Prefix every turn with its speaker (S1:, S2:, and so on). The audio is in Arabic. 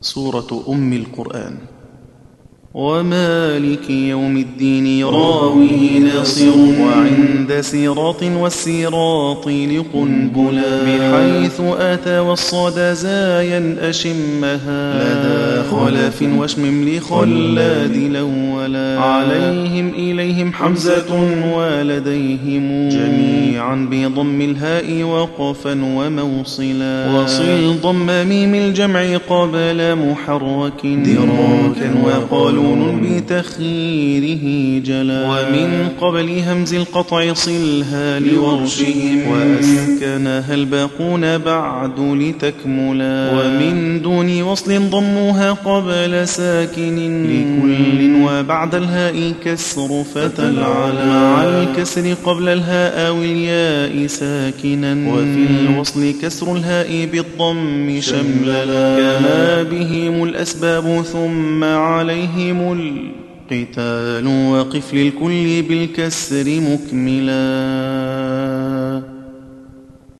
S1: سورة أم القرآن ومالك يوم الدين راوي ناصر وعند صراط والسراط لقنبلا بحيث أتى والصدى زايا أشمها لدى خلف وشمم لخلاد الأولا عليهم إليهم حمزة ولديهم جميعا بضم الهاء وقفا وموصلا وصل ضم ميم الجمع قبل محرك دراكا وقالون بتخييره جلا ومن قبل همز القطع صلها لورشهم وأسكنها الباقون بعد لتكملا ومن دون وصل ضمها قبل ساكن لكل وبعد الهاء كسر فتلعلا مع الكسر قبل الهاء أو الياء ساكنا وفي الوصل كسر الهاء بالضم شمللا كما بهم الأسباب ثم عليهم القتال وقف للكل بالكسر مكملا